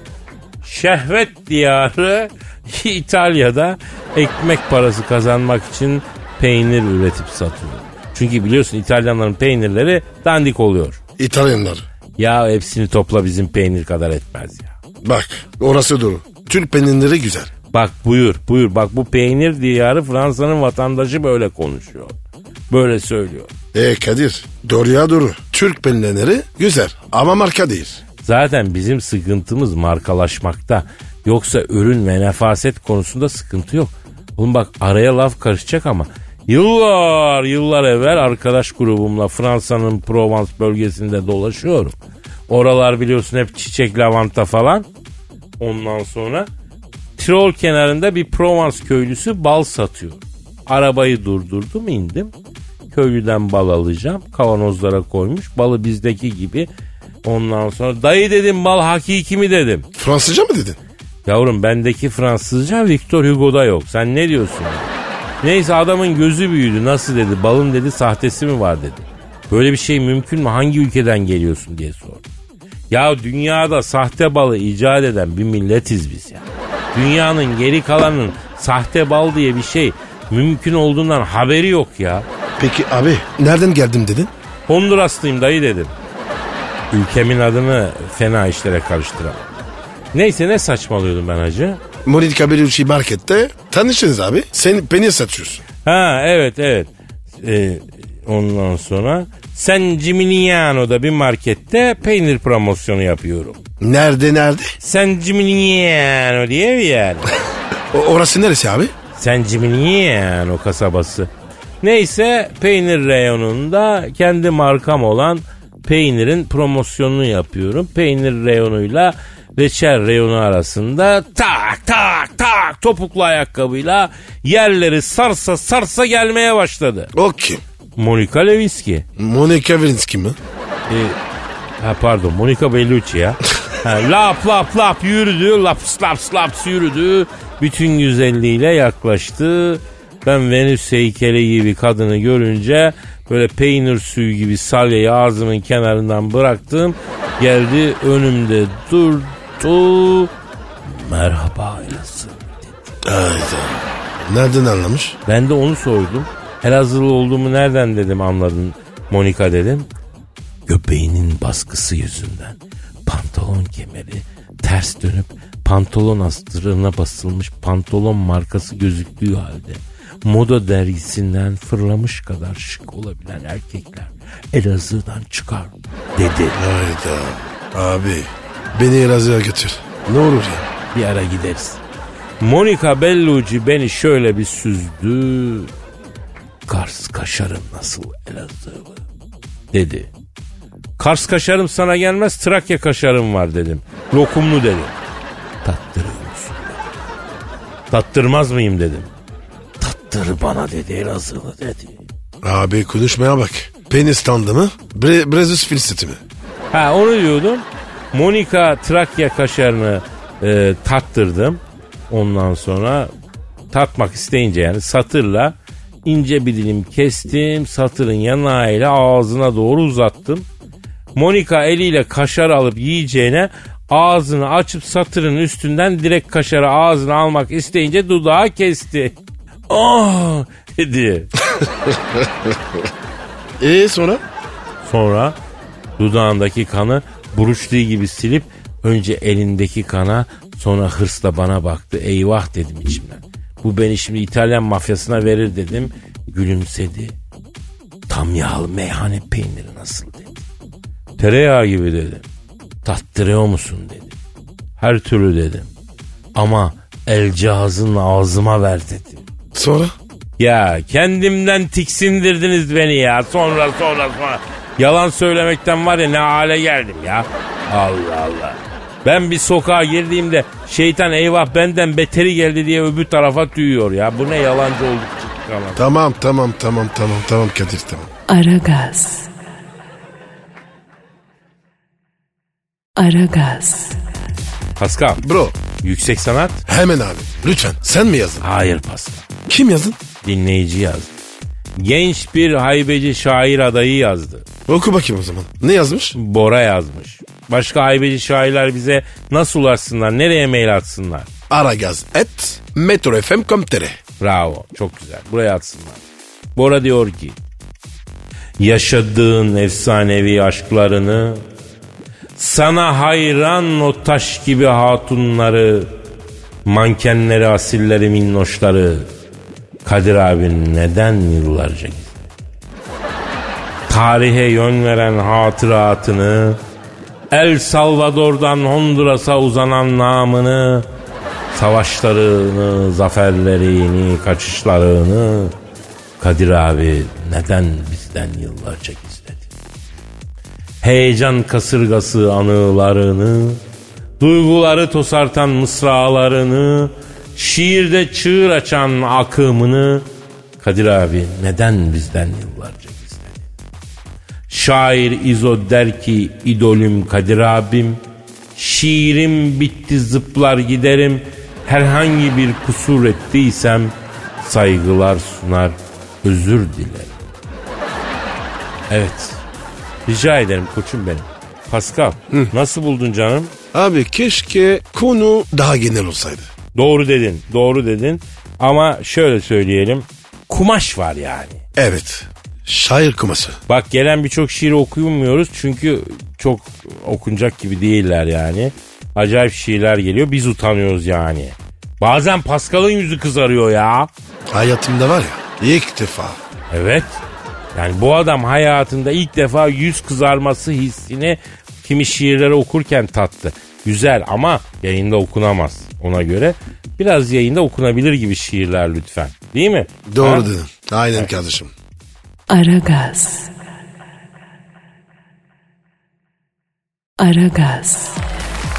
B: Şehvet diyarı [LAUGHS] İtalya'da ekmek parası kazanmak için peynir üretip satıyor. Çünkü biliyorsun İtalyanların peynirleri dandik oluyor.
C: İtalyanlar.
B: Ya hepsini topla bizim peynir kadar etmez ya.
C: Bak orası doğru. Türk peynirleri güzel.
B: Bak buyur buyur bak bu peynir diyarı Fransa'nın vatandaşı böyle konuşuyor. Böyle söylüyor.
C: E Kadir doğruya doğru. Türk peynirleri güzel ama marka değil.
B: Zaten bizim sıkıntımız markalaşmakta. Yoksa ürün ve nefaset konusunda sıkıntı yok. Oğlum bak araya laf karışacak ama. Yıllar yıllar evvel arkadaş grubumla Fransa'nın Provence bölgesinde dolaşıyorum. Oralar biliyorsun hep çiçek lavanta falan. Ondan sonra Tirol kenarında bir Provence köylüsü bal satıyor. Arabayı durdurdum indim. Köylüden bal alacağım. Kavanozlara koymuş. Balı bizdeki gibi. Ondan sonra dayı dedim bal hakiki mi dedim.
C: Fransızca mı dedin?
B: Yavrum bendeki Fransızca Victor Hugo'da yok. Sen ne diyorsun? Neyse adamın gözü büyüdü. Nasıl dedi? Balın dedi sahtesi mi var dedi. Böyle bir şey mümkün mü? Hangi ülkeden geliyorsun diye sordu. Ya dünyada sahte balı icat eden bir milletiz biz ya. Dünyanın geri kalanının sahte bal diye bir şey mümkün olduğundan haberi yok ya.
C: Peki abi nereden geldim dedin?
B: Honduraslıyım dayı dedim. Ülkemin adını fena işlere karıştıramam. Neyse ne saçmalıyordum ben hacı?
C: Monika Bellucci markette tanıştınız abi. Sen peynir satıyorsun.
B: Ha evet evet. Ee, Ondan sonra San Gimignano'da bir markette peynir promosyonu yapıyorum.
C: Nerede nerede?
B: San Gimignano diye bir yer.
C: O, orası neresi abi?
B: San Gimignano kasabası. Neyse peynir reyonunda kendi markam olan peynirin promosyonunu yapıyorum. Peynir reyonuyla reçel reyonu arasında tak tak tak topuklu ayakkabıyla yerleri sarsa sarsa gelmeye başladı.
C: O kim?
B: Monika Lewinsky.
C: Monica Lewinsky mi?
B: E, ha pardon Monica Bellucci ya. Ha, lap lap lap yürüdü. Laps laps laps yürüdü. Bütün güzelliğiyle yaklaştı. Ben Venüs heykeli gibi kadını görünce böyle peynir suyu gibi salyayı ağzımın kenarından bıraktım. Geldi önümde durdu. Merhaba ailesi.
C: Hayda. Nereden anlamış?
B: Ben de onu sordum. Elazığlı olduğumu nereden dedim anladın Monika dedim. Göbeğinin baskısı yüzünden pantolon kemeri ters dönüp pantolon astırına basılmış pantolon markası gözüktüğü halde moda dergisinden fırlamış kadar şık olabilen erkekler Elazığ'dan çıkar dedi.
C: Hayda. Abi beni Elazığ'a götür. Ne olur ya.
B: Bir ara gideriz. Monica Bellucci beni şöyle bir süzdü. Kars kaşarım nasıl Elazığlı dedi. Kars kaşarım sana gelmez Trakya kaşarım var dedim. Lokumlu dedi. Tattırıyor musun? dedi. Tattırmaz mıyım dedim. Tattır bana dedi Elazığlı dedi.
C: Abi konuşmaya bak. Penis standı mı? Bre Brezus filseti mi?
B: Ha onu diyordum. Monika Trakya kaşarını e, tattırdım. Ondan sonra tatmak isteyince yani satırla ince bir dilim kestim. Satırın yanağıyla ağzına doğru uzattım. Monika eliyle kaşar alıp yiyeceğine ağzını açıp satırın üstünden direkt kaşarı ağzına almak isteyince dudağı kesti. [LAUGHS] Ah dedi.
C: E sonra?
B: Sonra dudağındaki kanı buruştuğu gibi silip önce elindeki kana sonra hırsla bana baktı. Eyvah dedim içimden. Bu beni şimdi İtalyan mafyasına verir dedim. Gülümsedi. Tam yağlı meyhane peyniri nasıl dedi. Tereyağı gibi dedi. Tattırıyor musun dedi. Her türlü dedim. Ama el cihazını ağzıma ver dedi.
C: Sonra?
B: Ya kendimden tiksindirdiniz beni ya. Sonra sonra sonra. Yalan söylemekten var ya ne hale geldim ya. Allah Allah. Ben bir sokağa girdiğimde şeytan eyvah benden beteri geldi diye öbür tarafa tüyüyor ya. Bu ne yalancı olduk çıktık yalan.
C: Tamam tamam tamam tamam tamam Kadir tamam.
A: Aragaz. Aragaz.
B: Pascal
C: Bro
B: yüksek sanat.
C: hemen abi lütfen sen mi yazdın?
B: Hayır Pascal.
C: Kim yazdın?
B: Dinleyici yazdı. Genç bir haybeci şair adayı yazdı.
C: Oku bakayım o zaman. Ne yazmış?
B: Bora yazmış. Başka haybeci şairler bize nasıl ulaşsınlar, nereye mail atsınlar?
C: Aragaz et metrofm.com.tr
B: Bravo. Çok güzel. Buraya atsınlar. Bora diyor ki Yaşadığın efsanevi aşklarını Sana hayran o taş gibi hatunları Mankenleri asilleri minnoşları Kadir abi neden yıllarca gizli? Tarihe yön veren hatıratını El Salvador'dan Honduras'a uzanan namını savaşlarını, zaferlerini, kaçışlarını Kadir abi neden bizden yıllarca gizledi? Heyecan kasırgası anılarını, duyguları tosartan mısralarını, şiirde çığır açan akımını Kadir abi neden bizden yıllarca gizledi? Şair İzo der ki idolüm Kadir abim Şiirim bitti zıplar giderim Herhangi bir kusur ettiysem Saygılar sunar özür dilerim Evet Rica ederim koçum benim Pascal nasıl buldun canım?
C: Abi keşke konu daha genel olsaydı.
B: Doğru dedin doğru dedin Ama şöyle söyleyelim Kumaş var yani
C: Evet. Şair kuması.
B: Bak gelen birçok şiiri okuyamıyoruz çünkü çok okunacak gibi değiller yani. Acayip şiirler geliyor biz utanıyoruz yani. Bazen Pascal'ın yüzü kızarıyor ya.
C: Hayatımda var ya ilk defa
B: Evet. Yani bu adam hayatında ilk defa yüz kızarması hissini kimi şiirleri okurken tattı. Güzel ama yayında okunamaz ona göre. Biraz yayında okunabilir gibi şiirler lütfen. Değil mi?
C: Doğru
B: Ha?
C: dedin. Aynen kardeşim.
A: Aragaz. Aragaz.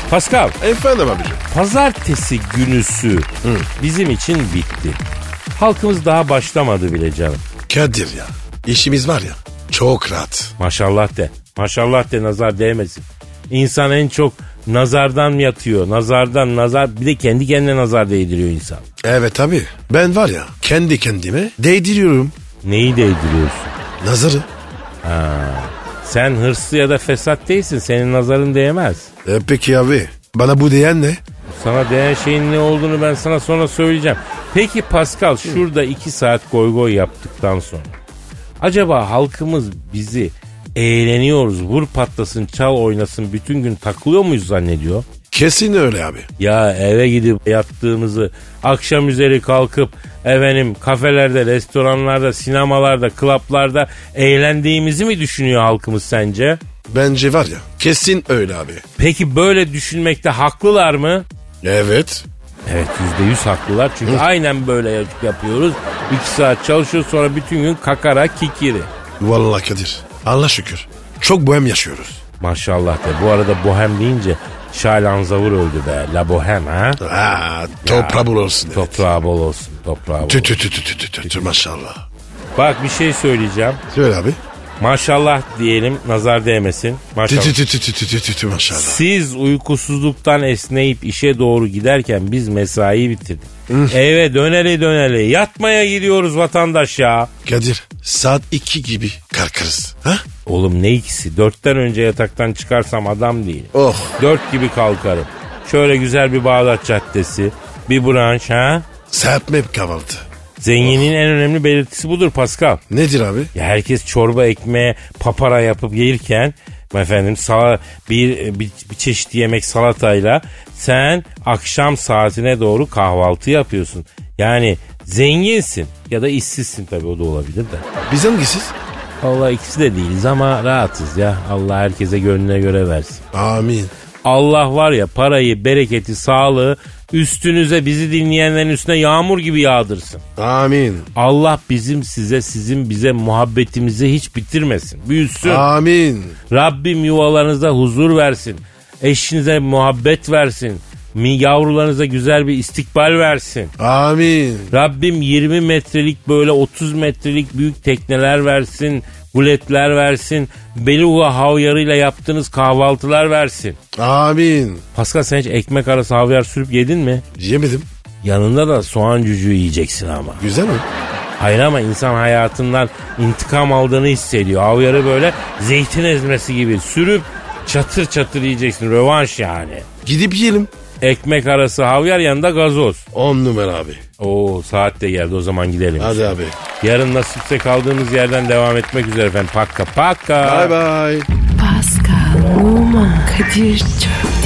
B: Pascal,
C: Efendim abicim.
B: pazartesi günüsü bizim için bitti. Halkımız daha başlamadı bile canım.
C: Kadir ya. İşimiz var ya. Çok rahat.
B: Maşallah de. Maşallah de nazar değmesin. İnsan en çok nazardan yatıyor. Nazardan nazar bir de kendi kendine nazar değdiriyor insan.
C: Evet abi. Ben var ya kendi kendime değdiriyorum.
B: Neyi değdiriyorsun?
C: Nazarı.
B: Sen hırslı ya da fesat değilsin. Senin nazarın değmez.
C: E peki abi. Bana bu diyen ne?
B: Sana değen şeyin ne olduğunu ben sana sonra söyleyeceğim. Peki Pascal şurada iki saat goy goy yaptıktan sonra. Acaba halkımız bizi eğleniyoruz, vur patlasın, çal oynasın, bütün gün takılıyor muyuz zannediyor?
C: Kesin öyle abi.
B: Ya eve gidip yattığımızı akşam üzeri kalkıp efendim kafelerde, restoranlarda, sinemalarda, klaplarda eğlendiğimizi mi düşünüyor halkımız sence?
C: Bence var ya. Kesin öyle abi.
B: Peki böyle düşünmekte haklılar mı?
C: Evet.
B: Evet yüzde yüz haklılar çünkü aynen böyle yap- yapıyoruz. İki saat çalışıyoruz sonra bütün gün kakara kikiri.
C: Vallahi Kadir. Allah şükür. Çok bohem yaşıyoruz.
B: Maşallah de bu arada bohem deyince Şaylan Zavur öldü be la bohem ha.
C: Aa, toprağı bol olsun. evet.
B: Toprağı bol olsun toprağı bol
C: Tü
B: olsun.
C: tü tü tü tü tü tü tü maşallah.
B: Bak bir şey söyleyeceğim.
C: Söyle abi.
B: Maşallah diyelim nazar değmesin.
C: Tü
B: Maşallah.
C: tü tü tü tü tü tü tü tü maşallah.
B: Siz uykusuzluktan esneyip işe doğru giderken biz mesai bitirdik. Eve döneli döneli yatmaya gidiyoruz vatandaş ya.
C: Kadir saat iki gibi kalkarız. Ha?
B: Oğlum ne ikisi? Dörtten önce yataktan çıkarsam adam değil.
C: Oh.
B: Dört gibi kalkarım. Şöyle güzel bir Bağdat Caddesi, bir branş ha.
C: Serpme kahvaltı.
B: Zenginin en önemli belirtisi budur Pascal.
C: Nedir abi?
B: Ya herkes çorba ekmeğe papara yapıp yerken efendim sala, bir, bir, bir çeşit yemek salatayla sen akşam saatine doğru kahvaltı yapıyorsun. Yani zenginsin ya da işsizsin tabii o da olabilir de.
C: Biz hangisiz?
B: Allah ikisi de değiliz ama rahatız ya. Allah herkese gönlüne göre versin.
C: Amin.
B: Allah var ya parayı, bereketi, sağlığı üstünüze bizi dinleyenlerin üstüne yağmur gibi yağdırsın.
C: Amin.
B: Allah bizim size, sizin bize muhabbetimizi hiç bitirmesin. Büyüsün.
C: Amin.
B: Rabbim yuvalarınıza huzur versin. Eşinize muhabbet versin. Mi yavrularınıza güzel bir istikbal versin.
C: Amin.
B: Rabbim 20 metrelik böyle 30 metrelik büyük tekneler versin. Guletler versin. Beluga havyarıyla yaptığınız kahvaltılar versin.
C: Amin.
B: Pascal sen hiç ekmek arası havyar sürüp yedin mi?
C: Yemedim.
B: Yanında da soğan cücüğü yiyeceksin ama.
C: Güzel mi?
B: Hayır ama insan hayatından intikam aldığını hissediyor. Havyarı böyle zeytin ezmesi gibi sürüp çatır çatır yiyeceksin. Rövanş yani.
C: Gidip yiyelim.
B: Ekmek arası havyar yanında gazoz.
C: On numara abi.
B: Oo saat de geldi o zaman gidelim.
C: Hadi abi.
B: Yarın nasipse kaldığımız yerden devam etmek üzere efendim. Pakka pakka.
C: Bye bye.
A: Pascal, Oman, Kadir çok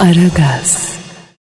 A: Aragaz.